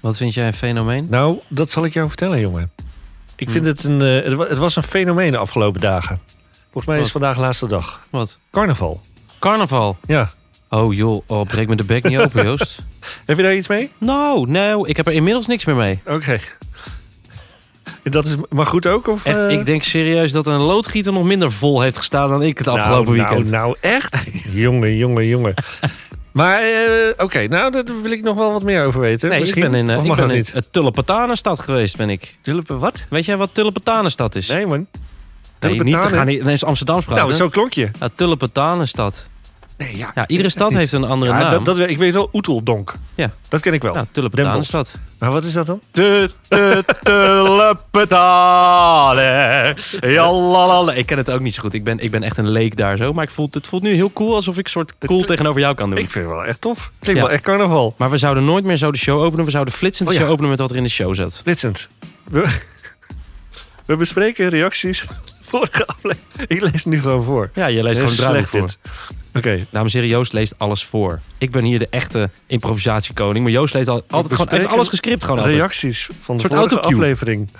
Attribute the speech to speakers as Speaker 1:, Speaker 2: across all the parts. Speaker 1: Wat vind jij een fenomeen?
Speaker 2: Nou, dat zal ik jou vertellen, jongen. Ik
Speaker 1: Hmm.
Speaker 2: vind het een. eh, het, wa- het was een fenomeen de afgelopen dagen. Volgens mij
Speaker 1: Wat?
Speaker 2: is vandaag de laatste dag.
Speaker 1: Wat?
Speaker 2: Carnaval.
Speaker 1: Carnaval.
Speaker 2: Ja.
Speaker 1: Oh joh, oh, breek me de bek niet open, Joost.
Speaker 2: Heb je daar iets mee?
Speaker 1: Nou, nou, ik heb er inmiddels niks meer mee.
Speaker 2: Oké. Dat is maar goed ook? Of,
Speaker 1: Echt,
Speaker 2: eh?
Speaker 1: ik denk serieus dat een loodgieter nog minder vol heeft gestaan dan ik het afgelopen
Speaker 2: nou,
Speaker 1: weekend.
Speaker 2: Nou, nou echt? jongen, jongen, jongen. Maar eh, oké, nou, daar wil ik nog wel wat meer over weten.
Speaker 1: nee, ik
Speaker 2: Misschien.
Speaker 1: ben in, eh,
Speaker 2: of
Speaker 1: ik
Speaker 2: mag
Speaker 1: ben
Speaker 2: dat
Speaker 1: in
Speaker 2: niet?
Speaker 1: het Tulpentanenstad geweest, ben ik.
Speaker 2: Tulpen wat?
Speaker 1: Weet jij wat Tulpentanenstad is?
Speaker 2: Nee, man.
Speaker 1: nee niet, we gaan niet, nee, is Amsterdam praten.
Speaker 2: Nou, zo klonk je.
Speaker 1: Ja, Tulpentanenstad.
Speaker 2: Nee,
Speaker 1: Ja, iedere stad heeft een andere
Speaker 2: Ja,
Speaker 1: naam.
Speaker 2: dat, dat, ik weet wel Oeteldonk.
Speaker 1: Ja.
Speaker 2: Dat ken ik wel.
Speaker 1: ja, Tulpentanenstad.
Speaker 2: Maar wat is dat dan?
Speaker 1: Tulpentanen. Jalalala. Ik ken het ook niet zo goed. Ik ben, ik ben echt een leek daar zo. Maar ik voel, het voelt nu heel cool alsof ik soort cool tegenover jou kan doen.
Speaker 2: Ik vind het wel echt tof. Klinkt
Speaker 1: Ja.
Speaker 2: wel echt carnaval.
Speaker 1: Maar we zouden nooit meer zo de show openen. We zouden flitsend
Speaker 2: Oh
Speaker 1: de
Speaker 2: ja.
Speaker 1: show openen met wat er in de show zat.
Speaker 2: Flitsend. We, we bespreken reacties. Vorige aflevering. Ik lees nu gewoon voor.
Speaker 1: Ja, je leest gewoon
Speaker 2: Heel
Speaker 1: draaiboek
Speaker 2: slecht
Speaker 1: voor.
Speaker 2: dit. Oké.
Speaker 1: Dames en heren, Joost leest alles voor. Ik ben hier de echte improvisatiekoning. Maar Joost leest al, altijd gewoon... Hij heeft
Speaker 2: bespreken
Speaker 1: alles gescript gewoon altijd.
Speaker 2: reacties van de
Speaker 1: Een soort
Speaker 2: vorige
Speaker 1: autocue.
Speaker 2: aflevering.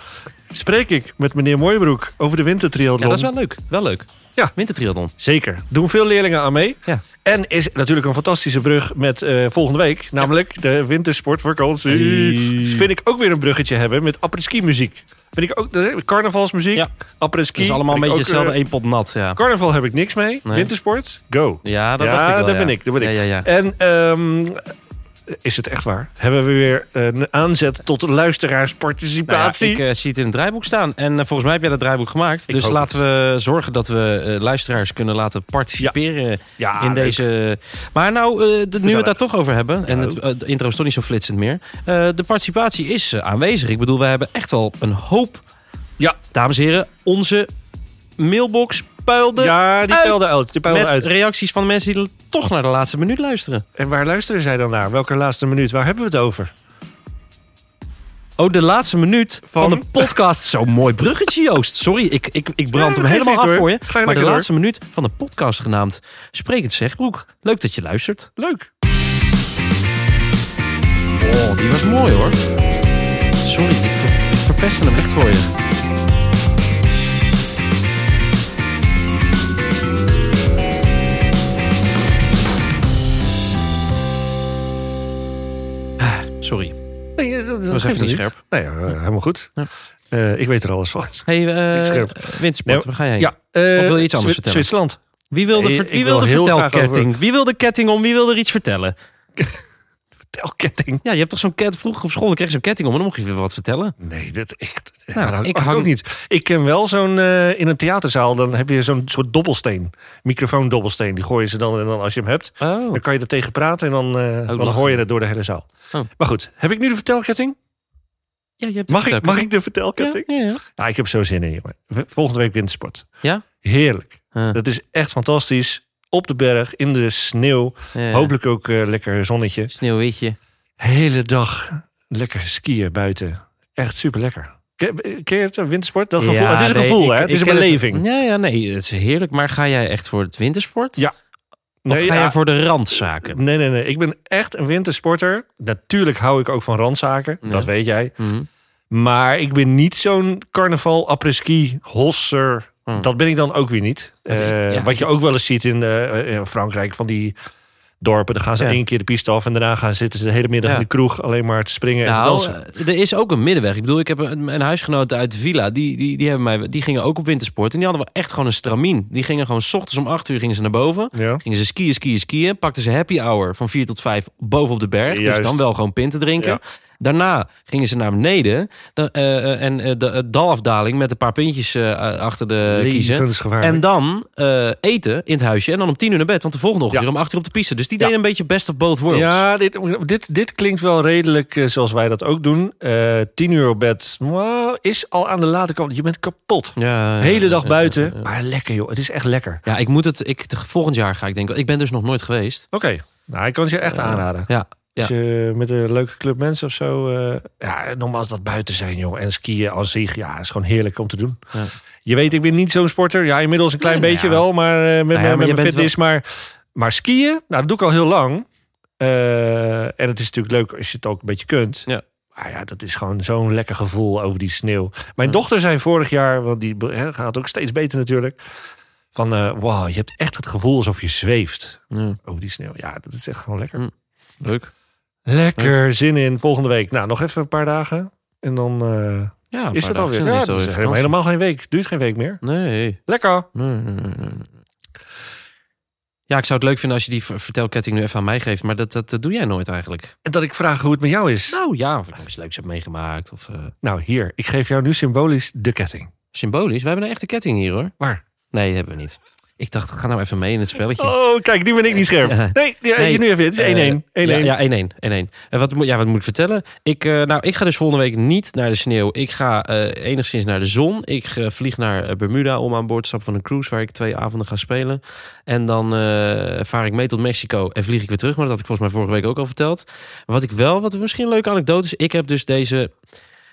Speaker 2: Spreek ik met meneer Mooibroek over de wintertriathlon.
Speaker 1: Ja, dat is wel leuk. Wel leuk.
Speaker 2: Ja.
Speaker 1: Wintertriathlon.
Speaker 2: Zeker. Doen veel leerlingen aan mee.
Speaker 1: Ja.
Speaker 2: En is natuurlijk een fantastische brug met eh, volgende week. Namelijk de wintersportvakantie. Dus
Speaker 1: Hey.
Speaker 2: Vind ik ook weer een bruggetje hebben met apres-ski muziek. Vind ik ook eh, carnavalsmuziek.
Speaker 1: Ja.
Speaker 2: Apres-ski.
Speaker 1: Het is allemaal een
Speaker 2: Vind
Speaker 1: beetje
Speaker 2: ik ook,
Speaker 1: hetzelfde.
Speaker 2: eh,
Speaker 1: één pot nat, ja.
Speaker 2: Carnaval heb ik niks mee.
Speaker 1: Nee.
Speaker 2: Wintersport, go.
Speaker 1: Ja, dat
Speaker 2: Ja,
Speaker 1: dacht ik wel,
Speaker 2: daar
Speaker 1: ja.
Speaker 2: ben ik, daar ben ik.
Speaker 1: Ja, ja, ja.
Speaker 2: En ehm, is het echt waar? Hebben we weer een aanzet tot
Speaker 1: Nou ja,
Speaker 2: luisteraarsparticipatie?
Speaker 1: ik eh, zie het in het draaiboek staan. En eh, volgens mij heb jij dat draaiboek gemaakt.
Speaker 2: Ik
Speaker 1: dus
Speaker 2: hoop
Speaker 1: laten we zorgen dat we eh, luisteraars kunnen laten participeren
Speaker 2: Ja,
Speaker 1: in
Speaker 2: Ah, leuk.
Speaker 1: deze... Maar nou, eh, d- nu we het daar toch over hebben... en
Speaker 2: Ja.
Speaker 1: het, eh, de intro is toch niet zo flitsend meer... eh, de participatie is eh, aanwezig. Ik bedoel, we hebben echt wel een hoop...
Speaker 2: Ja.
Speaker 1: Dames en heren, onze mailbox puilde
Speaker 2: Ja, die
Speaker 1: uit.
Speaker 2: peilde uit. Die peilde
Speaker 1: met
Speaker 2: uit.
Speaker 1: reacties van mensen die toch naar de laatste minuut luisteren.
Speaker 2: En waar luisteren zij dan naar? Welke laatste minuut? Waar hebben we het over?
Speaker 1: Oh, de laatste minuut van,
Speaker 2: Van?
Speaker 1: de podcast. Zo'n mooi bruggetje, Joost. Sorry, ik, ik, ik brand
Speaker 2: Ja,
Speaker 1: hem
Speaker 2: geeft
Speaker 1: helemaal
Speaker 2: niet,
Speaker 1: af
Speaker 2: hoor.
Speaker 1: voor je.
Speaker 2: Ga je
Speaker 1: Maar de
Speaker 2: lekker door.
Speaker 1: laatste minuut van de podcast genaamd Sprekend Zegbroek. Leuk dat je luistert.
Speaker 2: Leuk.
Speaker 1: Oh, die was mooi hoor. Sorry, ik, ver, ik verpestte hem echt voor je. Ah, Sorry.
Speaker 2: Nee, eh, dat, dat
Speaker 1: was
Speaker 2: geeft
Speaker 1: even niet scherp.
Speaker 2: Nee, eh, helemaal goed.
Speaker 1: Ja.
Speaker 2: Eh, ik weet er alles van.
Speaker 1: Hey,
Speaker 2: Niet
Speaker 1: eh
Speaker 2: scherp.
Speaker 1: Wintersport,
Speaker 2: Nee,
Speaker 1: waar ga jij heen?
Speaker 2: Ja, eh,
Speaker 1: Of wil je iets anders
Speaker 2: Zwi-
Speaker 1: vertellen?
Speaker 2: Zwitserland.
Speaker 1: Wie wil de,
Speaker 2: Nee,
Speaker 1: ver-
Speaker 2: ik
Speaker 1: wie
Speaker 2: wil
Speaker 1: wil de
Speaker 2: heel graag
Speaker 1: vertelketting? Wie wil de ketting om? Wie wil er iets vertellen?
Speaker 2: Vertelketting.
Speaker 1: Ja, je hebt toch zo'n ket. Vroeger op school dan kreeg je zo'n ketting om en dan mocht je weer wat vertellen.
Speaker 2: Nee, dat echt.
Speaker 1: Nou,
Speaker 2: Nou, dat
Speaker 1: ik
Speaker 2: ik
Speaker 1: hang-
Speaker 2: ook niet. Ik ken wel zo'n eh, in een theaterzaal. Dan heb je zo'n soort dobbelsteen, microfoondobbelsteen. Die gooien ze dan en dan als je hem hebt,
Speaker 1: Oh.
Speaker 2: dan kan je er tegen praten en dan, eh, dan
Speaker 1: lachen.
Speaker 2: hoor je dat door de hele zaal.
Speaker 1: Oh.
Speaker 2: Maar goed, heb ik nu de vertelketting?
Speaker 1: Ja, je hebt de
Speaker 2: Mag ik, mag
Speaker 1: vertelketting.
Speaker 2: ik de vertelketting?
Speaker 1: Ja, ja, ja.
Speaker 2: Nou, ik heb zo zin in, jongen. V- Volgende week wintersport.
Speaker 1: Ja?
Speaker 2: Heerlijk.
Speaker 1: Ja.
Speaker 2: Dat is echt fantastisch. Op de berg, in de sneeuw.
Speaker 1: Ja, ja.
Speaker 2: Hopelijk ook eh, lekker zonnetje.
Speaker 1: Sneeuwwitje.
Speaker 2: Hele dag lekker skiën buiten. Echt super lekker. Ken ken je het, eh, wintersport? Dat gevoel.
Speaker 1: Ja,
Speaker 2: het is een
Speaker 1: nee,
Speaker 2: gevoel,
Speaker 1: ik-
Speaker 2: hè? Het
Speaker 1: ik
Speaker 2: is een
Speaker 1: ken
Speaker 2: beleving.
Speaker 1: Ja, ja, nee, het is heerlijk. Maar ga jij echt voor het wintersport?
Speaker 2: Ja.
Speaker 1: Of
Speaker 2: Nee,
Speaker 1: ga
Speaker 2: ja.
Speaker 1: jij voor de randzaken?
Speaker 2: Nee, nee, nee. Ik ben echt een wintersporter. Natuurlijk hou ik ook van randzaken.
Speaker 1: Ja.
Speaker 2: Dat weet jij.
Speaker 1: Mhm.
Speaker 2: Maar ik ben niet zo'n carnaval, apres-ski, hosser.
Speaker 1: Hm.
Speaker 2: Dat ben ik dan ook weer niet.
Speaker 1: Het-
Speaker 2: Eh,
Speaker 1: ja.
Speaker 2: Wat je ook wel eens ziet in eh, eh, Frankrijk van die dorpen. Dan gaan ze
Speaker 1: Ja.
Speaker 2: één keer de piste af en daarna gaan zitten ze de hele middag
Speaker 1: Ja.
Speaker 2: in de kroeg alleen maar te springen en te
Speaker 1: Nou,
Speaker 2: dansen.
Speaker 1: eh, er is ook een middenweg. Ik bedoel, ik heb een, een huisgenoot uit Villa. Die, die, die, hebben mij, die gingen ook op wintersport. En die hadden wel echt gewoon een stramien. Die gingen gewoon s ochtends om 8 uur gingen ze naar boven.
Speaker 2: Ja.
Speaker 1: Gingen ze skiën, skiën, skiën. Pakten ze happy hour van 4 tot 5 boven op de berg.
Speaker 2: Ja,
Speaker 1: Dus
Speaker 2: juist.
Speaker 1: dan wel gewoon pinten drinken.
Speaker 2: Ja.
Speaker 1: Daarna gingen ze naar beneden. Da- eh, eh, en eh, de eh, dalafdaling met een paar pintjes eh, achter de kiezen.
Speaker 2: Levensgevaarlijk.
Speaker 1: En dan eh, eten in het huisje. En dan om 10 uur naar bed. Want de volgende ochtend
Speaker 2: Ja.
Speaker 1: weer om 8 uur op de piste. Dus die
Speaker 2: Ja.
Speaker 1: deden een beetje best of both worlds.
Speaker 2: Ja, dit, dit, dit klinkt wel redelijk eh, zoals wij dat ook doen. Eh, tien uur op bed mwah, is al aan de late kant. Je bent kapot.
Speaker 1: Ja, ja,
Speaker 2: Hele
Speaker 1: ja,
Speaker 2: dag
Speaker 1: ja,
Speaker 2: buiten.
Speaker 1: ja, ja.
Speaker 2: Maar lekker joh, het is echt lekker.
Speaker 1: Ja, ik moet het. Ik, de- volgend jaar ga ik denken. Ik ben dus nog nooit geweest.
Speaker 2: Oké, nou ik kan het je echt aanraden.
Speaker 1: Ja.
Speaker 2: Als je met een leuke club mensen of zo. eh ja, nogmaals dat buiten zijn joh. En skiën als zich, ja, is gewoon heerlijk om te doen.
Speaker 1: Ja.
Speaker 2: Je weet, ik ben niet zo'n sporter. Ja, inmiddels een klein
Speaker 1: Nee, nou
Speaker 2: beetje
Speaker 1: ja.
Speaker 2: wel, maar eh, met,
Speaker 1: ja,
Speaker 2: mijn-
Speaker 1: maar
Speaker 2: met
Speaker 1: je
Speaker 2: mijn
Speaker 1: bent
Speaker 2: fitness. Maar, maar skiën, nou dat doe ik al heel lang. Eh, en het is natuurlijk leuk als je het ook een beetje kunt.
Speaker 1: Ja.
Speaker 2: Ah ja, dat is gewoon zo'n lekker gevoel over die sneeuw. Mijn dochter zei vorig jaar, want die hè, gaat ook steeds beter natuurlijk. Van eh wauw, je hebt echt het gevoel alsof je zweeft
Speaker 1: Ja.
Speaker 2: over die sneeuw. Ja, dat is echt gewoon lekker.
Speaker 1: Mm. Leuk.
Speaker 2: Lekker zin in volgende week. Nou, nog even een paar dagen. En dan eh,
Speaker 1: Ja, een paar
Speaker 2: is het
Speaker 1: dagen
Speaker 2: alweer.
Speaker 1: zin,
Speaker 2: Ja,
Speaker 1: is
Speaker 2: het
Speaker 1: het
Speaker 2: is
Speaker 1: alweer
Speaker 2: helemaal,
Speaker 1: vakantie.
Speaker 2: helemaal geen week. Duurt geen week meer.
Speaker 1: Nee.
Speaker 2: Lekker.
Speaker 1: Nee, nee, nee, nee, nee. Ja, ik zou het leuk vinden als je die ver- vertelketting nu even aan mij geeft. Maar dat, dat, dat doe jij nooit eigenlijk.
Speaker 2: En dat ik vraag hoe het met jou is.
Speaker 1: Nou ja, of ik nog iets leuks heb meegemaakt. Of, eh,
Speaker 2: Nou, hier. Ik geef jou nu symbolisch de ketting.
Speaker 1: symbolisch. We hebben een echte ketting hier hoor.
Speaker 2: Waar?
Speaker 1: Nee, die hebben we niet. Ik dacht, ga nou even mee in het spelletje.
Speaker 2: Oh, kijk, nu ben ik niet scherp.
Speaker 1: Ja.
Speaker 2: Nee, Eh, ja,
Speaker 1: Nee.
Speaker 2: nu even. Het is 1-1. 1-1.
Speaker 1: Ja, ja, 1-1. 1-1. En wat, moet- ja, wat moet ik vertellen? Ik, eh, nou, ik ga dus volgende week niet naar de sneeuw. Ik ga eh, enigszins naar de zon. Ik eh, vlieg naar eh, Bermuda om aan boord te stappen van een cruise... waar ik twee avonden ga spelen. En dan eh, vaar ik mee tot Mexico en vlieg ik weer terug. Maar dat had ik volgens mij vorige week ook al verteld. Wat ik wel, wat misschien een leuke anekdote is... ik heb dus deze...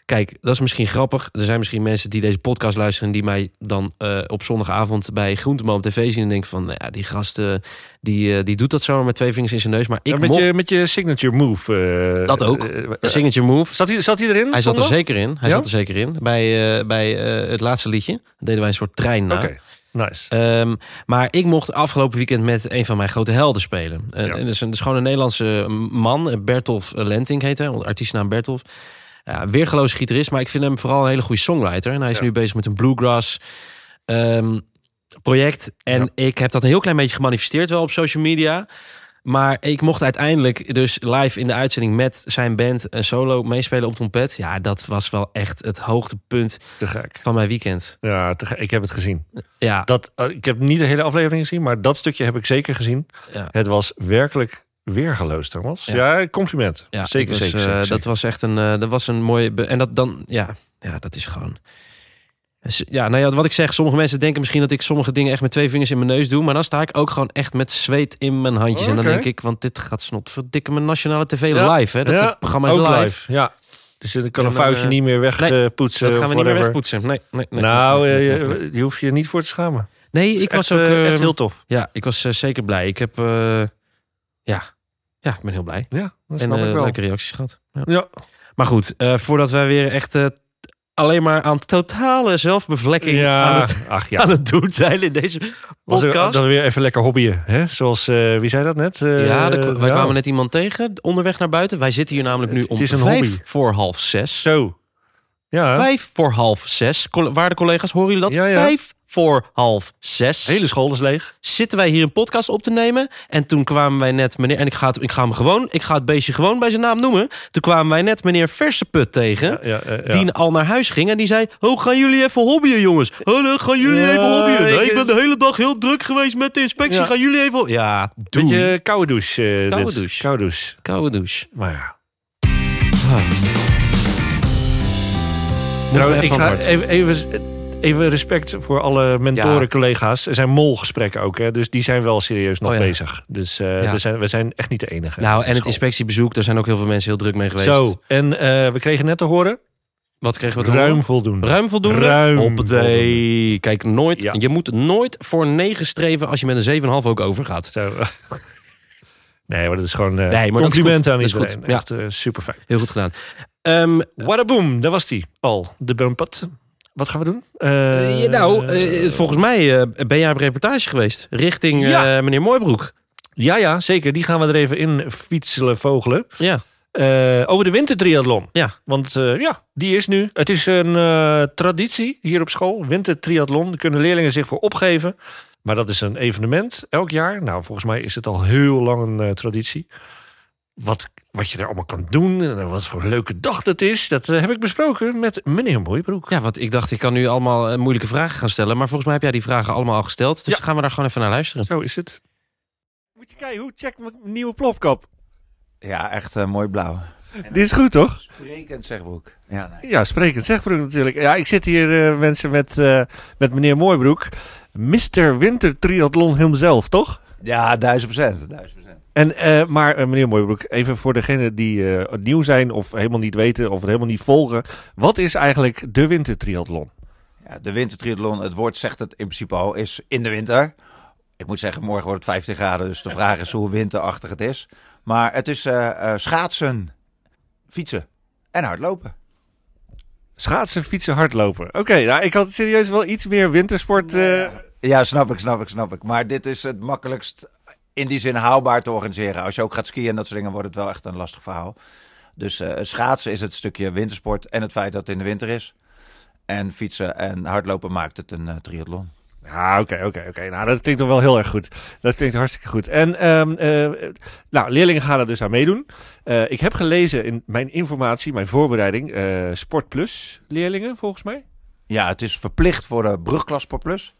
Speaker 1: Kijk, dat is misschien grappig. Er zijn misschien mensen die deze podcast luisteren... die mij dan eh, op zondagavond bij Groenteman op tv zien... en denken van, nou ja, die gasten die, eh, die doet dat zomaar met twee vingers in zijn neus. Maar ik
Speaker 2: Ja, met,
Speaker 1: mocht...
Speaker 2: je, met je signature move. eh,
Speaker 1: Dat ook.
Speaker 2: eh, eh,
Speaker 1: Een signature move.
Speaker 2: zat, hij, zat hij erin?
Speaker 1: Hij zat er
Speaker 2: zondag?
Speaker 1: zeker in. Hij
Speaker 2: Ja?
Speaker 1: zat er zeker in. Bij, eh, bij eh, het laatste liedje deden wij een soort trein na.
Speaker 2: Oké, nice.
Speaker 1: Ehm, maar ik mocht afgelopen weekend met een van mijn grote helden spelen. Eh, En,
Speaker 2: Ja.
Speaker 1: en dat, is een, dat is gewoon een Nederlandse man. Bertolf Lenting heet hij. Artiestnaam Bertolf. Ja, weergeloze gitarist. Maar ik vind hem vooral een hele goede songwriter. En hij is
Speaker 2: Ja.
Speaker 1: nu bezig met een bluegrass ehm, project. En
Speaker 2: Ja.
Speaker 1: ik heb dat een heel klein beetje gemanifesteerd wel op social media. Maar ik mocht uiteindelijk dus live in de uitzending met zijn band en solo meespelen op trompet. Ja, dat was wel echt het hoogtepunt
Speaker 2: te gek.
Speaker 1: van mijn weekend.
Speaker 2: Ja, te gek. ik heb het gezien.
Speaker 1: Ja,
Speaker 2: Dat, eh, ik heb niet de hele aflevering gezien, maar dat stukje heb ik zeker gezien.
Speaker 1: Ja.
Speaker 2: Het was werkelijk weergeloos, Thomas. Ja,
Speaker 1: Ja.
Speaker 2: compliment.
Speaker 1: Ja,
Speaker 2: zeker,
Speaker 1: dus,
Speaker 2: zeker,
Speaker 1: eh,
Speaker 2: zeker,
Speaker 1: Dat
Speaker 2: zeker.
Speaker 1: was echt een, eh, dat was een mooie. be- en dat dan, ja, ja, dat is gewoon. Dus, Ja, nou ja, wat ik zeg, sommige mensen denken misschien dat ik sommige dingen echt met twee vingers in mijn neus doe. Maar dan sta ik ook gewoon echt met zweet in mijn handjes. En dan
Speaker 2: Oké.
Speaker 1: denk ik, want dit gaat snotverdikken mijn nationale tv
Speaker 2: Ja.
Speaker 1: live. Hè? Dat
Speaker 2: Ja,
Speaker 1: het programma is
Speaker 2: Ook
Speaker 1: live.
Speaker 2: Ja. Dus dan kan
Speaker 1: Ja,
Speaker 2: een
Speaker 1: dan,
Speaker 2: foutje
Speaker 1: eh,
Speaker 2: niet meer
Speaker 1: nee,
Speaker 2: wegpoetsen.
Speaker 1: Dat gaan we niet meer
Speaker 2: wegpoetsen.
Speaker 1: wegpoetsen. Nee, nee, nee.
Speaker 2: Eh, Nou,
Speaker 1: nee,
Speaker 2: eh,
Speaker 1: nee, nee, nee.
Speaker 2: je, je hoeft je niet voor te schamen.
Speaker 1: Nee,
Speaker 2: Het is
Speaker 1: ik was
Speaker 2: echt,
Speaker 1: ook...
Speaker 2: eh, echt
Speaker 1: eh,
Speaker 2: heel tof.
Speaker 1: Ja, ik was eh, zeker blij. Ik heb... eh, ja. ja, ik ben heel blij.
Speaker 2: Ja, dat
Speaker 1: En
Speaker 2: snap ik
Speaker 1: eh,
Speaker 2: wel.
Speaker 1: leuke reacties gehad. Ja.
Speaker 2: Ja.
Speaker 1: Maar goed, eh, voordat wij weer echt eh, t- alleen maar aan totale zelfbevlekking aan,
Speaker 2: Ja,
Speaker 1: het,
Speaker 2: ach ja.
Speaker 1: aan het doen zijn in deze
Speaker 2: Was er,
Speaker 1: podcast.
Speaker 2: dan weer even lekker hobbyen, hè? Zoals, eh, wie zei dat net? Eh,
Speaker 1: ja, de- wij
Speaker 2: ja.
Speaker 1: kwamen net iemand tegen onderweg naar buiten. Wij zitten hier namelijk nu
Speaker 2: Het-
Speaker 1: om
Speaker 2: het is een
Speaker 1: vijf
Speaker 2: hobby.
Speaker 1: voor half zes.
Speaker 2: Zo. Ja,
Speaker 1: Vijf voor half zes. Coll- Waarde collega's, horen jullie dat?
Speaker 2: Ja, ja.
Speaker 1: Vijf voor half zes.
Speaker 2: de hele school is leeg.
Speaker 1: Zitten wij hier een podcast op te nemen. En toen kwamen wij net meneer... En ik ga het, ik ga hem gewoon, ik ga het beestje gewoon bij zijn naam noemen. Toen kwamen wij net meneer Verseput tegen.
Speaker 2: Ja, eh, ja.
Speaker 1: die al naar huis ging en die zei: Oh, gaan jullie even hobbyen, jongens? Oh, dan gaan jullie
Speaker 2: Ja,
Speaker 1: even hobbyen. Nee,
Speaker 2: ik-
Speaker 1: ik, ben de hele dag heel druk geweest met de inspectie.
Speaker 2: Ja.
Speaker 1: Gaan jullie even. ho- Ja, doei.
Speaker 2: Beetje eh, koude douche. eh,
Speaker 1: Koude
Speaker 2: dit.
Speaker 1: douche.
Speaker 2: Koude douche.
Speaker 1: Koude douche.
Speaker 2: Maar ja.
Speaker 1: Moeten we
Speaker 2: Trouwens, ik
Speaker 1: even
Speaker 2: ga
Speaker 1: van het hart.
Speaker 2: even, even, even respect voor alle mentoren, collega's. Er zijn molgesprekken ook, hè? Dus die zijn wel serieus nog
Speaker 1: Oh ja.
Speaker 2: bezig. Dus eh,
Speaker 1: Ja.
Speaker 2: er zijn, we zijn echt niet de enige.
Speaker 1: Nou, en het
Speaker 2: School.
Speaker 1: inspectiebezoek, daar zijn ook heel veel mensen heel druk mee geweest.
Speaker 2: Zo, en eh, we kregen net te horen,
Speaker 1: Wat kregen we te
Speaker 2: ruim
Speaker 1: horen?
Speaker 2: voldoende.
Speaker 1: Ruim voldoende?
Speaker 2: Ruim
Speaker 1: Hoppatee. Kijk, nooit,
Speaker 2: Ja.
Speaker 1: je moet nooit voor 9 streven als je met een 7,5 ook overgaat.
Speaker 2: Zo. nee, maar dat is gewoon eh
Speaker 1: Nee, maar dat is
Speaker 2: complimenten
Speaker 1: goed.
Speaker 2: aan
Speaker 1: Dat is
Speaker 2: iedereen.
Speaker 1: goed. Ja.
Speaker 2: Echt eh, super fijn.
Speaker 1: Heel goed gedaan. Ehm,
Speaker 2: Wadaboom, daar was die al, de bumpat. Wat gaan we doen? Eh,
Speaker 1: eh, nou, eh, volgens mij eh, ben jij op reportage geweest richting
Speaker 2: Ja.
Speaker 1: eh, meneer Mooibroek.
Speaker 2: ja, ja, zeker. Die gaan we er even in fietselen, vogelen.
Speaker 1: Ja.
Speaker 2: Eh, over de wintertriathlon.
Speaker 1: Ja.
Speaker 2: Want eh, ja, die is nu. Het is een eh, traditie hier op school. Wintertriathlon. Daar kunnen leerlingen zich voor opgeven. Maar dat is een evenement elk jaar. Nou, volgens mij is het al heel lang een eh, traditie. Wat, wat je daar allemaal kan doen en wat voor een leuke dag dat is, dat eh, heb ik besproken met meneer Mooibroek.
Speaker 1: Ja, want ik dacht, ik kan nu allemaal eh, moeilijke vragen gaan stellen. Maar volgens mij heb jij die vragen allemaal al gesteld. Dus
Speaker 2: Ja.
Speaker 1: gaan we daar gewoon even naar luisteren.
Speaker 2: Zo is het.
Speaker 3: Moet je kijken, hoe check mijn nieuwe plopkap.
Speaker 4: Ja, echt eh, mooi blauw.
Speaker 3: Dit is goed, toch?
Speaker 4: Sprekend zegbroek. Ja, nee.
Speaker 3: Ja, sprekend zegbroek natuurlijk. Ja, ik zit hier eh, mensen met, eh, met meneer Mooibroek. Mr. Winter Triathlon hemzelf, toch?
Speaker 4: ja duizend procent. Duizend procent.
Speaker 3: En, eh, maar eh, meneer Mooibroek, even voor degenen die eh, nieuw zijn of helemaal niet weten of het helemaal niet volgen. Wat is eigenlijk de Winter Triathlon?
Speaker 4: Ja, de wintertriathlon, het woord zegt het in principe al, is in de winter. Ik moet zeggen, morgen wordt het 15 graden, dus de vraag is hoe winterachtig het is. Maar het is eh, eh, schaatsen, fietsen. En hardlopen.
Speaker 2: Schaatsen, fietsen, hardlopen. Oké, nou, ik had serieus wel iets meer wintersport. eh,
Speaker 4: Ja, snap ik, snap ik, snap ik. Maar dit is het makkelijkst in die zin haalbaar te organiseren. Als je ook gaat skiën en dat soort dingen, wordt het wel echt een lastig verhaal. Dus eh, schaatsen is het stukje wintersport en het feit dat het in de winter is. En fietsen en hardlopen maakt het een eh, triathlon.
Speaker 2: Ja, oké, oké, oké. Nou, dat klinkt toch wel heel erg goed. Dat klinkt hartstikke goed. En, ehm, eh, nou, leerlingen gaan er dus aan meedoen. Eh, ik heb gelezen in mijn informatie, mijn voorbereiding, eh, Sport Plus leerlingen, volgens mij.
Speaker 4: Ja, het is verplicht voor de brugklas Sport Plus.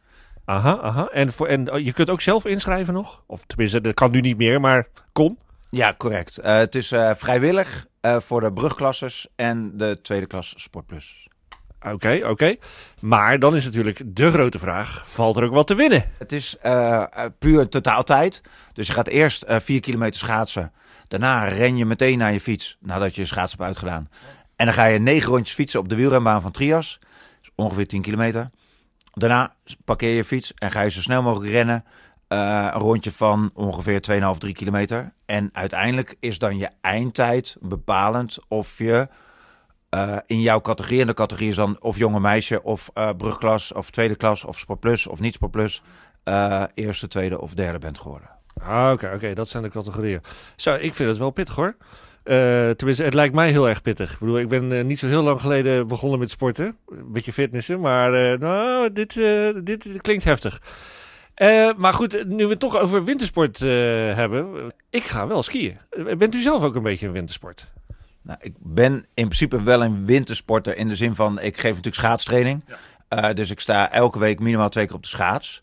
Speaker 2: Aha, aha. En, voor, en oh, je kunt ook zelf inschrijven nog? Of tenminste, dat kan nu niet meer, maar kon.
Speaker 4: Ja, correct. Eh, het is eh, vrijwillig eh, voor de brugklassers en de tweede klas Sport Plus.
Speaker 2: Oké, oké. Maar dan is natuurlijk de grote vraag, valt er ook wat te winnen?
Speaker 4: Het is eh, eh, puur totaaltijd. Dus je gaat eerst eh, vier kilometer schaatsen. Daarna ren je meteen naar je fiets nadat je je schaats hebt uitgedaan. En dan ga je negen rondjes fietsen op de wielrenbaan van Trias. Dus ongeveer 10 kilometer. Daarna parkeer je je fiets en ga je zo snel mogelijk rennen. eh, een rondje van ongeveer 2,5, 3 kilometer. En uiteindelijk is dan je eindtijd bepalend of je eh, in jouw categorie, en de categorie is dan of jonge meisje, of eh, brugklas, of tweede klas, of sportplus, of niet sportplus, eh, eerste, tweede of derde bent geworden.
Speaker 2: Ah, oké, oké, dat zijn de categorieën. Zo, ik vind het wel pittig hoor. Eh, tenminste, het lijkt mij heel erg pittig. Ik bedoel, ik ben eh, niet zo heel lang geleden begonnen met sporten. Een beetje fitnessen, maar eh, nou, dit, eh, dit, dit klinkt heftig. Eh, maar goed, nu we het toch over wintersport eh, hebben. Ik ga wel skiën. Eh, Bent u zelf ook een beetje een wintersport?
Speaker 4: Nou, ik ben in principe wel een wintersporter in de zin van ik geef natuurlijk schaatstraining. Eh, dus ik sta elke week minimaal twee keer op de schaats.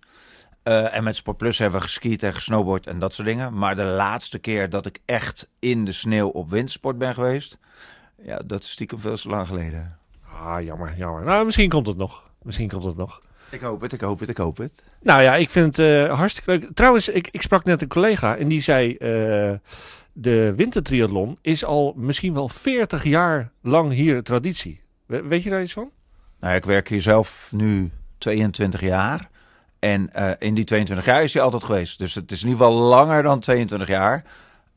Speaker 4: Eh, en met Sportplus hebben we geskiet en gesnowboard en dat soort dingen. Maar de laatste keer dat ik echt in de sneeuw op wintersport ben geweest, ja, dat is stiekem veel te lang geleden.
Speaker 2: Ah, jammer, jammer. Nou, misschien komt het nog. Misschien komt het nog.
Speaker 4: Ik hoop het, ik hoop het, ik hoop het.
Speaker 2: Nou ja, ik vind het eh, hartstikke leuk. Trouwens, ik, ik sprak net een collega en die zei... eh, de wintertriathlon is al misschien wel 40 jaar lang hier traditie. We- weet je daar iets van?
Speaker 4: Nou, ik werk hier zelf nu 22 jaar. En eh, in die 22 jaar is hij altijd geweest. Dus het is in ieder geval langer dan 22 jaar.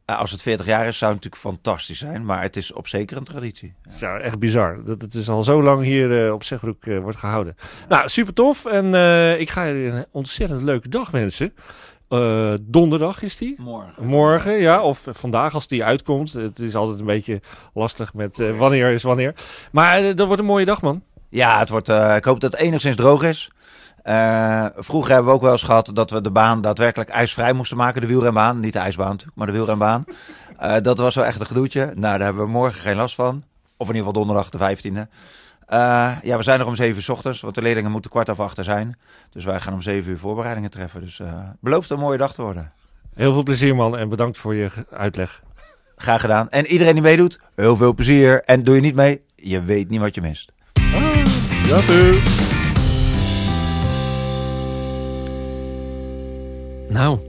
Speaker 4: Eh, als het 40 jaar is, zou het natuurlijk fantastisch zijn. Maar het is op zeker een traditie.
Speaker 2: Ja, nou echt bizar. Dat het is al zo lang hier eh, op Zegbroek eh, wordt gehouden. Nou, super tof. En eh, ik ga jullie een ontzettend leuke dag wensen. Eh, donderdag is die.
Speaker 4: Morgen.
Speaker 2: Morgen, ja, of vandaag als die uitkomt. Het is altijd een beetje lastig met eh, wanneer is wanneer. Maar eh, dat wordt een mooie dag, man.
Speaker 4: Ja, het wordt, eh, ik hoop dat het enigszins droog is. Eh, vroeger hebben we ook wel eens gehad dat we de baan daadwerkelijk ijsvrij moesten maken. De wielrenbaan, niet de ijsbaan natuurlijk, maar de wielrenbaan. Eh, dat was wel echt een gedoetje. Nou, daar hebben we morgen geen last van. Of in ieder geval donderdag de 15e. Eh, ja, we zijn er om 7 uur 's ochtends, want de leerlingen moeten kwart over achter zijn. Dus wij gaan om 7 uur voorbereidingen treffen. Dus eh belooft een mooie dag te worden.
Speaker 2: Heel veel plezier, man. En bedankt voor je ge- uitleg.
Speaker 4: Graag gedaan. En iedereen die meedoet, heel veel plezier. En doe je niet mee, je weet niet wat je mist.
Speaker 1: Nou,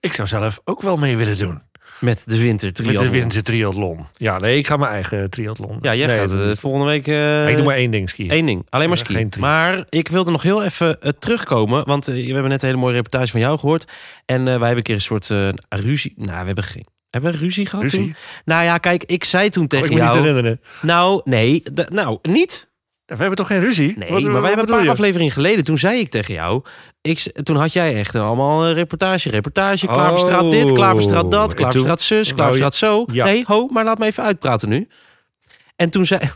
Speaker 5: Ik zou zelf ook wel mee willen doen.
Speaker 1: met de winter
Speaker 5: Met
Speaker 1: triathlon.
Speaker 5: de wintertriathlon. Ja, nee, ik ga mijn eigen triathlon.
Speaker 1: Ja, jij
Speaker 5: nee,
Speaker 1: gaat
Speaker 5: dat
Speaker 1: eh,
Speaker 5: is-
Speaker 1: volgende week... eh,
Speaker 5: Ik doe maar één ding skiën.
Speaker 1: Eén ding, alleen maar
Speaker 5: Ja,
Speaker 1: ski.
Speaker 5: geen drie.
Speaker 1: Maar ik wilde nog heel even eh, terugkomen, want eh, we hebben net een hele mooie reportage van jou gehoord. En eh, wij hebben een keer een soort eh, ruzie. Nou, we hebben geen. Hebben we ruzie gehad
Speaker 5: Ruzie?
Speaker 1: toen?
Speaker 2: Oh,
Speaker 1: Nou ja, kijk, ik zei toen
Speaker 5: Oh,
Speaker 1: tegen
Speaker 5: ik moet niet
Speaker 1: jou.
Speaker 5: herinneren.
Speaker 1: Nou, nee, d- nou, niet.
Speaker 5: We hebben toch geen ruzie?
Speaker 1: Nee,
Speaker 5: Wat- wat
Speaker 1: maar wij hebben een
Speaker 5: bedoel
Speaker 1: paar
Speaker 5: je?
Speaker 1: afleveringen geleden. Toen zei ik tegen jou. Ik, z- toen had jij echt allemaal eh, reportage, reportage.
Speaker 5: Oh.
Speaker 1: Klaverstraat dit, Klaverstraat dat,
Speaker 5: En
Speaker 1: Klaverstraat zus,
Speaker 5: Nou,
Speaker 1: Klaverstraat zo.
Speaker 5: ja.
Speaker 1: Nee, ho, maar laat me even uitpraten nu. En toen zei.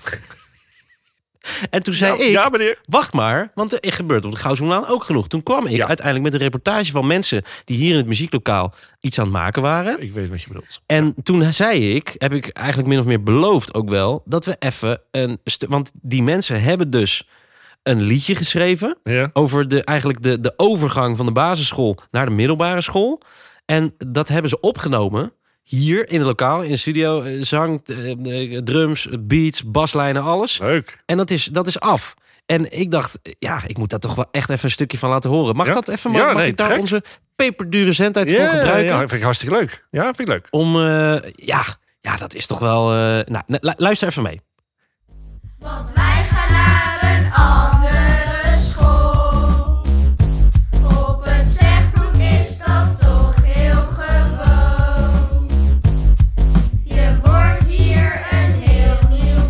Speaker 1: en toen zei
Speaker 5: Nou,
Speaker 1: ik.
Speaker 5: Ja, meneer.
Speaker 1: Wacht maar, want er gebeurt op de Gouwzoenlaan ook genoeg. Toen kwam ik
Speaker 5: Ja.
Speaker 1: uiteindelijk met een reportage van mensen... die hier in het muzieklokaal iets aan het maken waren.
Speaker 5: Ik weet wat je bedoelt.
Speaker 1: En toen zei ik, heb ik eigenlijk min of meer beloofd ook wel... dat we even een... stu- Want die mensen hebben dus een liedje geschreven...
Speaker 5: Ja.
Speaker 1: over de, eigenlijk de, de overgang van de basisschool naar de middelbare school. En dat hebben ze opgenomen hier in het lokaal, in de studio. eh, Zang, eh, eh, drums, beats, baslijnen, alles.
Speaker 5: Leuk.
Speaker 1: En dat is, dat is af. En ik dacht, ja, ik moet daar toch wel echt even een stukje van laten horen. Mag
Speaker 5: Ja?
Speaker 1: dat even?
Speaker 5: Ja,
Speaker 1: Mag, mag
Speaker 5: nee,
Speaker 1: ik daar
Speaker 5: gek.
Speaker 1: onze peperdure zendtijd
Speaker 5: Ja,
Speaker 1: voor gebruiken?
Speaker 5: ja, vind ik hartstikke leuk. Ja, vind ik leuk.
Speaker 1: Om, eh, ja, ja, dat is toch wel... eh, nou, nou, lu- luister even mee.
Speaker 6: Want wij gaan naar een andere school. Op het zegbroek is dat toch heel gewoon. Je wordt hier een heel nieuw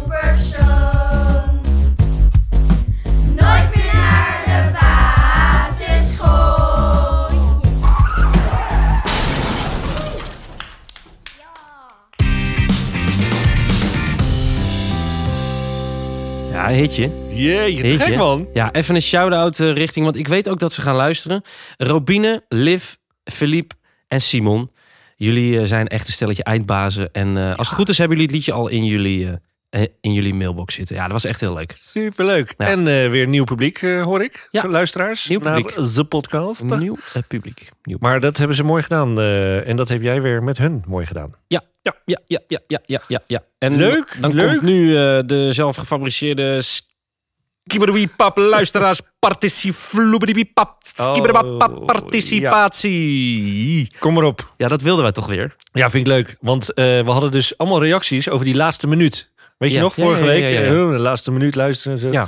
Speaker 7: Ja, een hitje.
Speaker 2: Jeetje, te
Speaker 7: Jeetje.
Speaker 2: gek man.
Speaker 7: Ja, even een shout-out eh, richting, want ik weet ook dat ze gaan luisteren. Robine, Liv, Philippe en Simon. Jullie eh, zijn echt een stelletje eindbazen. En eh, als het goed is, hebben jullie het liedje al in jullie, eh, eh, in jullie mailbox zitten. Ja, dat was echt heel leuk.
Speaker 2: Superleuk.
Speaker 7: Ja.
Speaker 2: En eh, weer nieuw publiek eh, hoor ik.
Speaker 7: Ja.
Speaker 2: Luisteraars.
Speaker 7: Nieuw publiek.
Speaker 2: Naar de podcast.
Speaker 7: Een nieuw eh, publiek. Nieuw.
Speaker 2: Maar dat hebben ze mooi gedaan. eh, en dat heb jij weer met hun mooi gedaan.
Speaker 7: Ja, ja, ja, ja, ja, ja. ja. En
Speaker 2: Leuk,
Speaker 7: Dan
Speaker 2: leuk.
Speaker 7: komt nu eh, de zelfgefabriceerde... Skibberwiepap, luisteraars, participap,
Speaker 2: Oh,
Speaker 7: participatie.
Speaker 2: Kom maar op.
Speaker 7: Ja, dat wilden wij toch weer.
Speaker 2: Ja, vind ik leuk. Want eh, we hadden dus allemaal reacties over die laatste minuut. Weet je
Speaker 7: Ja.
Speaker 2: nog,
Speaker 7: Ja,
Speaker 2: vorige
Speaker 7: ja, ja,
Speaker 2: week?
Speaker 7: ja, ja.
Speaker 2: eh, de laatste minuut luisteren en zo.
Speaker 7: Ja.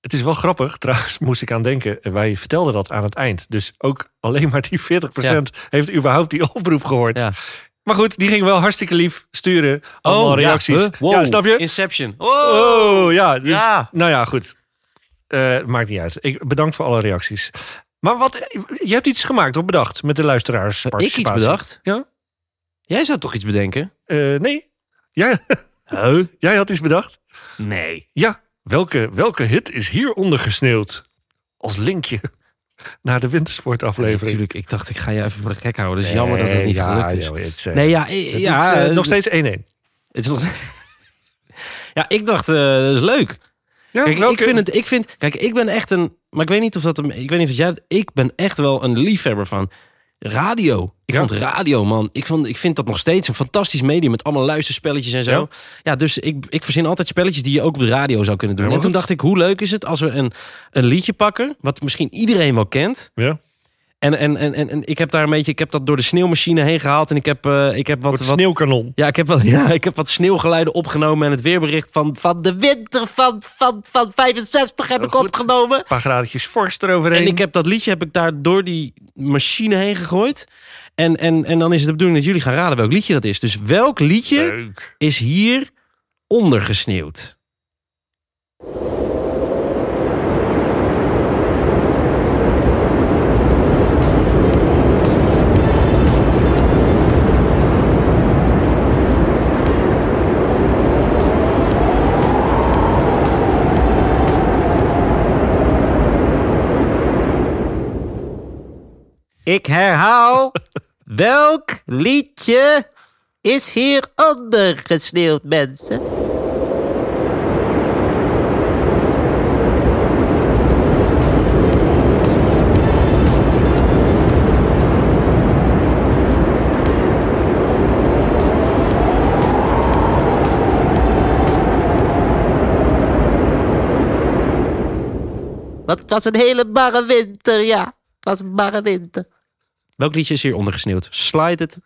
Speaker 2: Het is wel grappig, trouwens, moest ik aan denken. Wij vertelden dat aan het eind. Dus ook alleen maar die 40% heeft überhaupt die oproep gehoord.
Speaker 7: Ja. Oh,
Speaker 2: Maar goed, die ging wel hartstikke lief sturen. Allemaal
Speaker 7: ja,
Speaker 2: reacties. Ja,
Speaker 7: huh? Wow.
Speaker 2: snap je?
Speaker 7: Inception.
Speaker 2: Oh, ja. Dus,
Speaker 7: Ja.
Speaker 2: Nou ja, goed. Eh, maakt niet uit. Ik, bedankt voor alle reacties. Maar wat, je hebt iets gemaakt of bedacht met de luisteraars.
Speaker 7: ik iets bedacht?
Speaker 2: Ja.
Speaker 7: Jij zou toch iets bedenken?
Speaker 2: Eh, nee. Jij, jij had iets bedacht?
Speaker 7: Nee.
Speaker 2: Ja. Welke, welke hit is hieronder gesneeuwd? Als linkje naar de wintersportaflevering.
Speaker 7: Natuurlijk, ik dacht ik ga je even voor de gek houden. Dus jammer dat het niet gelukt is.
Speaker 2: nee,
Speaker 7: Nee, ja,
Speaker 2: het
Speaker 7: eh,
Speaker 2: is,
Speaker 7: ja,
Speaker 2: eh,
Speaker 7: eh,
Speaker 2: nog steeds 1-1.
Speaker 7: Het is nog... ja, ik dacht, eh, dat is leuk.
Speaker 2: Ja,
Speaker 7: Kijk, ik
Speaker 2: welke-
Speaker 7: vind het, ik vind, kijk, ik ben echt een, maar ik weet niet of dat, hem- ik weet niet of jij, dat- ik ben echt wel een liefhebber van radio. Ik
Speaker 2: Ja.
Speaker 7: vond radio, man, ik, vond, ik vind dat nog steeds een fantastisch medium met allemaal luisterspelletjes en zo.
Speaker 2: Ja.
Speaker 7: Ja, dus ik, ik verzin altijd spelletjes die je ook op de radio zou kunnen doen.
Speaker 2: Ja, maar
Speaker 7: en toen
Speaker 2: goed.
Speaker 7: dacht ik, hoe leuk is het als we een, een liedje pakken, wat misschien iedereen wel kent.
Speaker 2: Ja.
Speaker 7: En, en, en, en, en ik heb daar een beetje, ik heb dat door de sneeuwmachine heen gehaald en ik heb, eh, ik heb wat,
Speaker 2: Wordt
Speaker 7: wat
Speaker 2: sneeuwkanon.
Speaker 7: ja, ik heb wat, ja, ik heb wat sneeuwgeluiden opgenomen en het weerbericht van, van de winter van, van, van 65 heb
Speaker 2: Oh,
Speaker 7: ik
Speaker 2: goed.
Speaker 7: opgenomen.
Speaker 2: Een paar graadjes vorst eroverheen.
Speaker 7: En ik heb dat liedje heb ik daar door die machine heen gegooid. En, en, en dan is het de bedoeling dat jullie gaan raden welk liedje dat is. Dus welk liedje
Speaker 2: Leuk.
Speaker 7: is hier ondergesneeuwd? Ik herhaal, welk liedje is hier ondergesneeuwd, mensen?
Speaker 8: Want het was een hele barre winter, ja. Het was een barre winter.
Speaker 7: Welk liedje is hier ondergesneeuwd? Slide het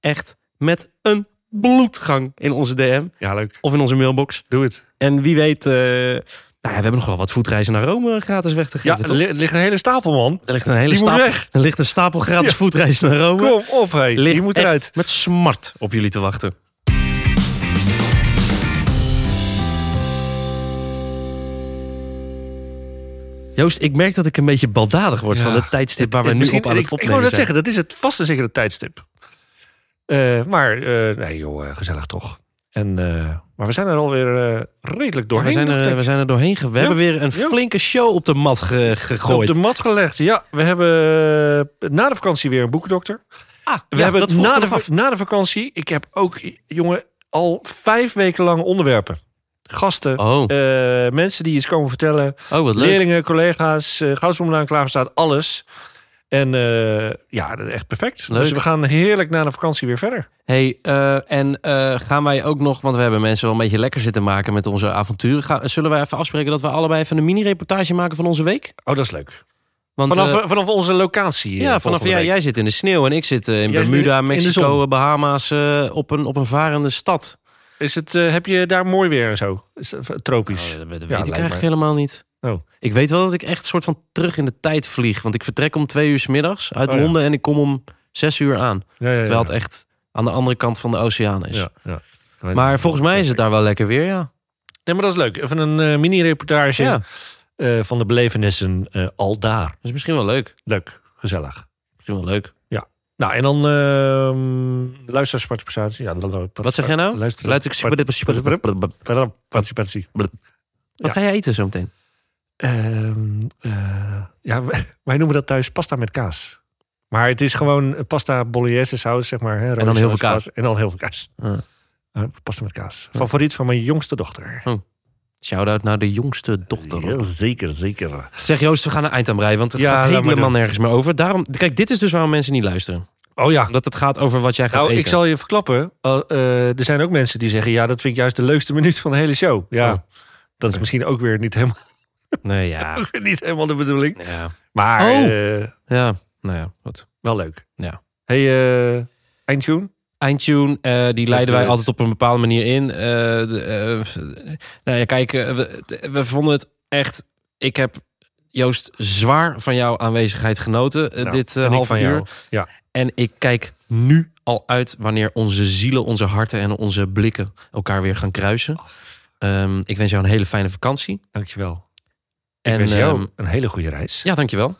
Speaker 7: echt met een bloedgang in onze DM
Speaker 2: Ja, leuk.
Speaker 7: of in onze mailbox.
Speaker 2: Doe het.
Speaker 7: En wie weet, eh, nou ja, we hebben nog wel wat voetreizen naar Rome gratis weg te
Speaker 2: Ja,
Speaker 7: geven.
Speaker 2: er
Speaker 7: toch?
Speaker 2: li- ligt een hele stapel, man.
Speaker 7: er ligt een hele
Speaker 2: die moet
Speaker 7: stapel,
Speaker 2: weg.
Speaker 7: er ligt een stapel gratis voetreizen naar Rome.
Speaker 2: Kom op, hé.
Speaker 7: Ligt
Speaker 2: Je moet
Speaker 7: echt
Speaker 2: eruit.
Speaker 7: met smart op jullie te wachten. Joost, ik merk dat ik een beetje baldadig word
Speaker 2: Ja.
Speaker 7: van het tijdstip waar we nu
Speaker 2: Misschien-
Speaker 7: op aan
Speaker 2: ik-
Speaker 7: het opnemen
Speaker 2: Ik wou net
Speaker 7: zijn.
Speaker 2: zeggen, dat is het vaste zekere tijdstip. Eh, maar, eh, nee joh, eh, gezellig toch. En, eh, maar we zijn er alweer eh redelijk
Speaker 7: Ja,
Speaker 2: doorheen.
Speaker 7: we, zijn
Speaker 2: dacht
Speaker 7: er, eh,
Speaker 2: ik.
Speaker 7: we zijn er doorheen gegaan. We
Speaker 2: Ja,
Speaker 7: hebben weer een
Speaker 2: ja.
Speaker 7: flinke show op de mat ge-
Speaker 2: Op
Speaker 7: gegooid.
Speaker 2: de mat gelegd. Ja, we hebben eh, na de vakantie weer een boekendokter.
Speaker 7: Ah,
Speaker 2: We
Speaker 7: ja,
Speaker 2: hebben
Speaker 7: dat vroeg
Speaker 2: na,
Speaker 7: ik
Speaker 2: de,
Speaker 7: nog af.
Speaker 2: va- na de vakantie, ik heb ook, jongen, al vijf weken lang onderwerpen. Gasten,
Speaker 7: Oh,
Speaker 2: eh, mensen die iets komen vertellen.
Speaker 7: oh, wat leuk.
Speaker 2: Leerlingen, collega's, uh, Goudsbloemlaan, Klaverstaat, alles. En eh, ja, dat is echt perfect.
Speaker 7: Leuk.
Speaker 2: Dus we gaan heerlijk na de vakantie weer verder.
Speaker 7: Hey, eh, en eh, gaan wij ook nog, want we hebben mensen wel een beetje lekker zitten maken met onze avonturen. Ga- zullen wij even afspreken dat we allebei even een mini-reportage maken van onze week?
Speaker 2: Oh, dat is leuk.
Speaker 7: Want,
Speaker 2: Vanaf,
Speaker 7: eh,
Speaker 2: eh, vanaf onze locatie. eh,
Speaker 7: ja, vanaf
Speaker 2: volgende
Speaker 7: ja,
Speaker 2: week.
Speaker 7: jij zit in de sneeuw en ik zit eh,
Speaker 2: Jij
Speaker 7: in
Speaker 2: zit
Speaker 7: Bermuda,
Speaker 2: in de- in de
Speaker 7: Mexico,
Speaker 2: zon.
Speaker 7: eh, Bahama's eh, op, een, op een varende stad.
Speaker 2: Is het, eh, heb je daar mooi weer en zo? Is het, eh, tropisch.
Speaker 7: Oh, dat dat weet
Speaker 2: lijkt
Speaker 7: ik
Speaker 2: mij.
Speaker 7: eigenlijk helemaal niet.
Speaker 2: Oh.
Speaker 7: Ik weet wel dat ik echt soort van terug in de tijd vlieg. Want ik vertrek om twee uur 's middags uit
Speaker 2: Oh, ja.
Speaker 7: Londen en ik kom om zes uur aan.
Speaker 2: ja, ja, ja.
Speaker 7: Terwijl het echt aan de andere kant van de oceaan is.
Speaker 2: Ja, ja.
Speaker 7: Maar volgens mij is het daar wel lekker weer, ja.
Speaker 2: Nee, maar dat is leuk. Even een eh, mini-reportage
Speaker 7: Ja,
Speaker 2: eh, van de belevenissen eh, al daar.
Speaker 7: dat is misschien wel leuk.
Speaker 2: Leuk, gezellig.
Speaker 7: Misschien wel leuk.
Speaker 2: Nou, en dan ehm luisteraarsparticipatie. Ja,
Speaker 7: Wat zeg jij nou?
Speaker 2: Luister,
Speaker 7: Luid ik super.
Speaker 2: participatie.
Speaker 7: Wat ga jij eten zo meteen?
Speaker 2: Ehm, eh, ja, wij, wij noemen dat thuis pasta met kaas. Maar het is gewoon eh, pasta bolognese saus, zeg maar. Hè, rode
Speaker 7: dan heel
Speaker 2: saus,
Speaker 7: veel kaas.
Speaker 2: En dan heel veel kaas.
Speaker 7: Ah.
Speaker 2: Eh, pasta met kaas. Favoriet van mijn jongste dochter.
Speaker 7: Shout-out naar de jongste dochter.
Speaker 2: Heel zeker, zeker.
Speaker 7: Zeg Joost, we gaan een eind aan breien, want het
Speaker 2: Ja,
Speaker 7: gaat
Speaker 2: laat maar
Speaker 7: helemaal
Speaker 2: doen.
Speaker 7: nergens meer over. Daarom, kijk, dit is dus waarom mensen niet luisteren.
Speaker 2: Oh ja.
Speaker 7: Omdat het gaat over wat jij gaat
Speaker 2: Nou,
Speaker 7: eten.
Speaker 2: ik zal je verklappen. eh, eh, er zijn ook mensen die zeggen... ja, dat vind ik juist de leukste minuut van de hele show. Ja,
Speaker 7: Oh.
Speaker 2: dat is misschien ook weer niet helemaal,
Speaker 7: Nee, ja.
Speaker 2: niet helemaal de bedoeling.
Speaker 7: ja.
Speaker 2: Maar
Speaker 7: Oh.
Speaker 2: eh,
Speaker 7: Ja, nou ja, wat.
Speaker 2: wel leuk.
Speaker 7: Ja.
Speaker 2: hey, eh eindtune?
Speaker 7: Eindtune, eh, die leiden wij
Speaker 2: leuk.
Speaker 7: altijd op een bepaalde manier in. Eh, de, eh, nou ja, kijk, eh, we, we vonden het echt... Ik heb, Joost, zwaar van jouw aanwezigheid genoten eh,
Speaker 2: Nou,
Speaker 7: dit eh,
Speaker 2: en ik
Speaker 7: half
Speaker 2: van
Speaker 7: uur.
Speaker 2: jou. Ja.
Speaker 7: En ik kijk nu al uit wanneer onze zielen, onze harten en onze blikken elkaar weer gaan kruisen. Ehm, ik wens jou een hele fijne vakantie.
Speaker 2: Dankjewel.
Speaker 7: En
Speaker 2: En, wens jou
Speaker 7: ehm,
Speaker 2: een hele goede reis.
Speaker 7: ja, dankjewel.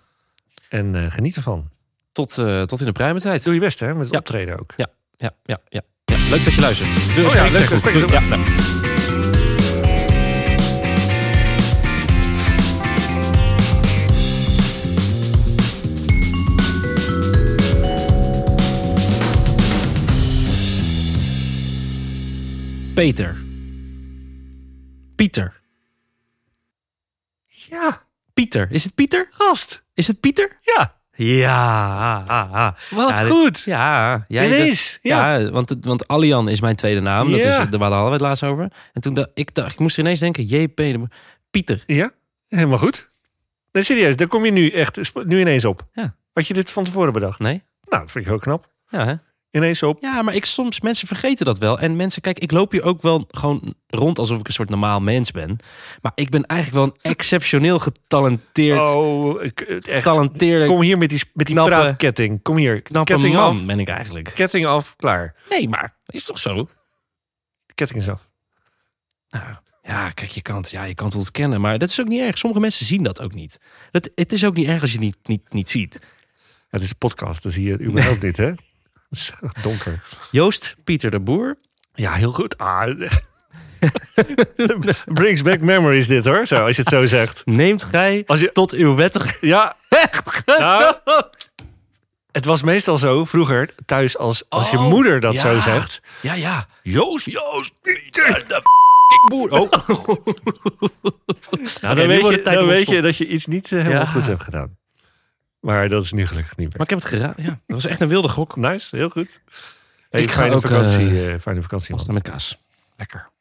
Speaker 2: En eh, geniet ervan.
Speaker 7: Tot, eh, tot in de pruimentijd.
Speaker 2: Doe je best hè, met het
Speaker 7: Ja.
Speaker 2: optreden ook.
Speaker 7: Ja, ja, ja, ja. Leuk dat je luistert.
Speaker 2: Oh ja, leuk gesprek.
Speaker 7: Ja, nou. Peter. Pieter.
Speaker 2: Ja,
Speaker 7: Pieter. Is het Pieter?
Speaker 2: gast.
Speaker 7: Is het Pieter?
Speaker 2: Ja,
Speaker 7: Ja.
Speaker 2: wat
Speaker 7: Ja, dit-
Speaker 2: goed.
Speaker 7: Ja, jij
Speaker 2: Ineens. ja.
Speaker 7: ja, want, het- want Allian is mijn tweede naam. Dat
Speaker 2: Ja.
Speaker 7: is, daar hadden we het laatst over. En toen dacht ik, dacht, ik moest ineens denken, JP, de- Pieter.
Speaker 2: Ja, helemaal goed. Nee, serieus, daar kom je nu echt sp- nu ineens op.
Speaker 7: Ja.
Speaker 2: Had je dit van tevoren bedacht?
Speaker 7: Nee.
Speaker 2: Nou, dat vind ik heel knap.
Speaker 7: Ja, hè?
Speaker 2: Ineens op.
Speaker 7: ja, maar ik soms, mensen vergeten dat wel. En mensen, kijk, ik loop hier ook wel gewoon rond alsof ik een soort normaal mens ben. Maar ik ben eigenlijk wel een exceptioneel getalenteerd,
Speaker 2: Oh, ik- het echt.
Speaker 7: getalenteerde,
Speaker 2: Kom hier met die, met die
Speaker 7: Knappe-
Speaker 2: praatketting. Kom hier.
Speaker 7: knappe
Speaker 2: ketting
Speaker 7: man
Speaker 2: af.
Speaker 7: ben ik eigenlijk.
Speaker 2: Ketting af, klaar.
Speaker 7: Nee, maar is toch zo?
Speaker 2: De ketting is af.
Speaker 7: Ja, kijk, je kan het, ja, je kan het ontkennen. Maar dat is ook niet erg. Sommige mensen zien dat ook niet. Dat, het is ook niet erg als je het niet, niet, niet ziet.
Speaker 2: Het is een podcast, dan zie je überhaupt dit, hè? Het is donker.
Speaker 7: Joost Pieter de Boer.
Speaker 2: Ja, heel goed. Ah. Brings back memories dit, hoor. Zo, als je het zo zegt.
Speaker 7: Neemt gij
Speaker 2: Als je,
Speaker 7: tot uw wettige
Speaker 2: ja,
Speaker 7: echt
Speaker 2: Nou, het was meestal zo vroeger thuis als, als je
Speaker 7: Oh,
Speaker 2: moeder dat zo
Speaker 7: ja.
Speaker 2: zegt.
Speaker 7: Ja, ja.
Speaker 2: Joost, Joost, Pieter, de
Speaker 7: Boer. Oh.
Speaker 2: Nou, dan weet, je, dan weet je dat je iets niet eh, helemaal goed hebt gedaan. Maar dat is nu gelukkig niet meer.
Speaker 7: Maar ik heb het geraden. Ja, dat was echt een wilde gok.
Speaker 2: Nice, heel goed. Hey,
Speaker 7: Ik ga
Speaker 2: fijne,
Speaker 7: ook,
Speaker 2: vakantie,
Speaker 7: eh,
Speaker 2: eh, fijne vakantie, man.
Speaker 7: Pasta met kaas.
Speaker 2: Lekker.